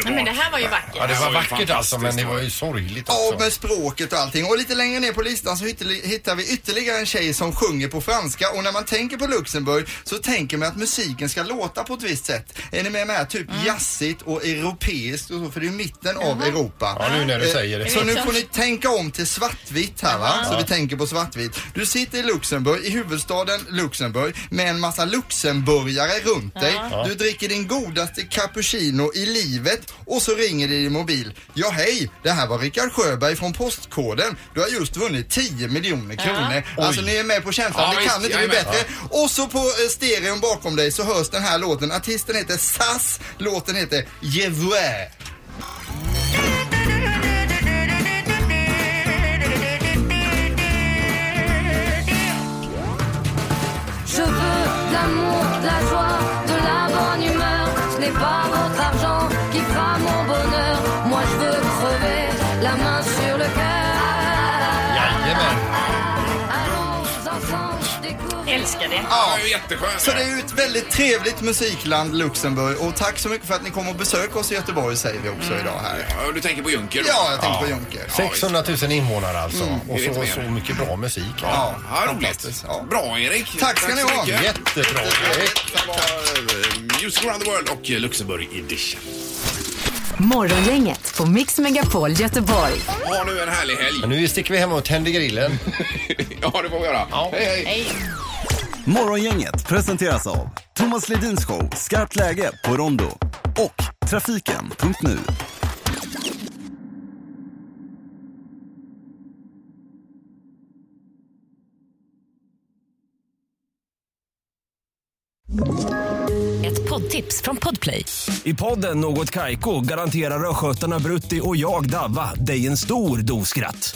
[SPEAKER 2] Nej, men det här var ju vackert.
[SPEAKER 3] Ja, det var vackert alltså, men det var ju sorgligt
[SPEAKER 7] Ja,
[SPEAKER 3] också.
[SPEAKER 7] med språket och allting. Och lite längre ner på listan så ytterli- hittar vi ytterligare en tjej som sjunger på franska. Och när man tänker på Luxemburg så tänker man att musiken ska låta på ett visst sätt. Är ni med mig här? Typ
[SPEAKER 3] Mm.
[SPEAKER 7] jazzigt och europeiskt och så, för det är ju mitten av Europa.
[SPEAKER 3] Ja, nu när du
[SPEAKER 7] Eh,
[SPEAKER 3] säger det.
[SPEAKER 7] Så nu
[SPEAKER 3] Liksom.
[SPEAKER 7] får ni tänka om till svartvitt här va?
[SPEAKER 3] Jaha.
[SPEAKER 7] Så vi
[SPEAKER 3] Ja.
[SPEAKER 7] tänker på svartvitt. Du sitter i Luxemburg, i huvudstaden Luxemburg, med en massa luxemburgare runt dig.
[SPEAKER 3] Ja.
[SPEAKER 7] Du dricker din godaste cappuccino i livet och så ringer det i din mobil. Ja hej, det här var Rickard Sjöberg från Postkoden. Du har just vunnit 10 miljoner kronor.
[SPEAKER 1] Ja.
[SPEAKER 7] Alltså
[SPEAKER 1] Oj.
[SPEAKER 7] ni är med på känslan,
[SPEAKER 1] Ja,
[SPEAKER 7] det
[SPEAKER 1] visst,
[SPEAKER 7] kan inte
[SPEAKER 1] jag
[SPEAKER 7] bli
[SPEAKER 1] är med.
[SPEAKER 7] bättre. Och så på eh, stereon bakom dig så hörs den här låten. Artisten heter Sass, låten heter Je Vois.
[SPEAKER 13] Je veux de l'amour, de la joie, de la bonne humeur. Ce n'est pas votre argent qui fera mon bonheur. Moi je veux crever la main sur le cœur. Allons enfants, découvrons.
[SPEAKER 2] Älskar det.
[SPEAKER 7] Ja, Så det är ju ett väldigt trevligt musikland, Luxemburg. Och tack så mycket för att ni kom och besökte oss i Göteborg säger vi också idag här.
[SPEAKER 1] Ja, du tänker på Juncker då?
[SPEAKER 7] Ja, jag tänkte på Juncker.
[SPEAKER 3] 600 000 invånare alltså.
[SPEAKER 7] Mm,
[SPEAKER 3] och
[SPEAKER 7] det är
[SPEAKER 3] så,
[SPEAKER 7] lite
[SPEAKER 3] så
[SPEAKER 7] mer.
[SPEAKER 3] mycket bra musik.
[SPEAKER 7] Ja,
[SPEAKER 1] roligt. Bra Erik.
[SPEAKER 7] Tack ska ni
[SPEAKER 1] så
[SPEAKER 7] ha.
[SPEAKER 1] mycket.
[SPEAKER 3] Jättebra Erik.
[SPEAKER 1] Det var, eh, Music around the world och eh, Luxemburg edition.
[SPEAKER 4] Morgongänget på Mix Megapol Göteborg.
[SPEAKER 1] Ha nu en härlig helg.
[SPEAKER 3] Men nu sticker vi hem och tänder grillen.
[SPEAKER 1] ja, det får vi göra. Hej, hej.
[SPEAKER 6] Morgongänget presenteras av Thomas Ledins show Skarpt läge på Rondo och Trafiken.nu.
[SPEAKER 4] Ett poddtips från Podplay.
[SPEAKER 14] I podden Något Kaiko garanterar östgötarna Brutti och jag, Davva, dig en stor dos skratt.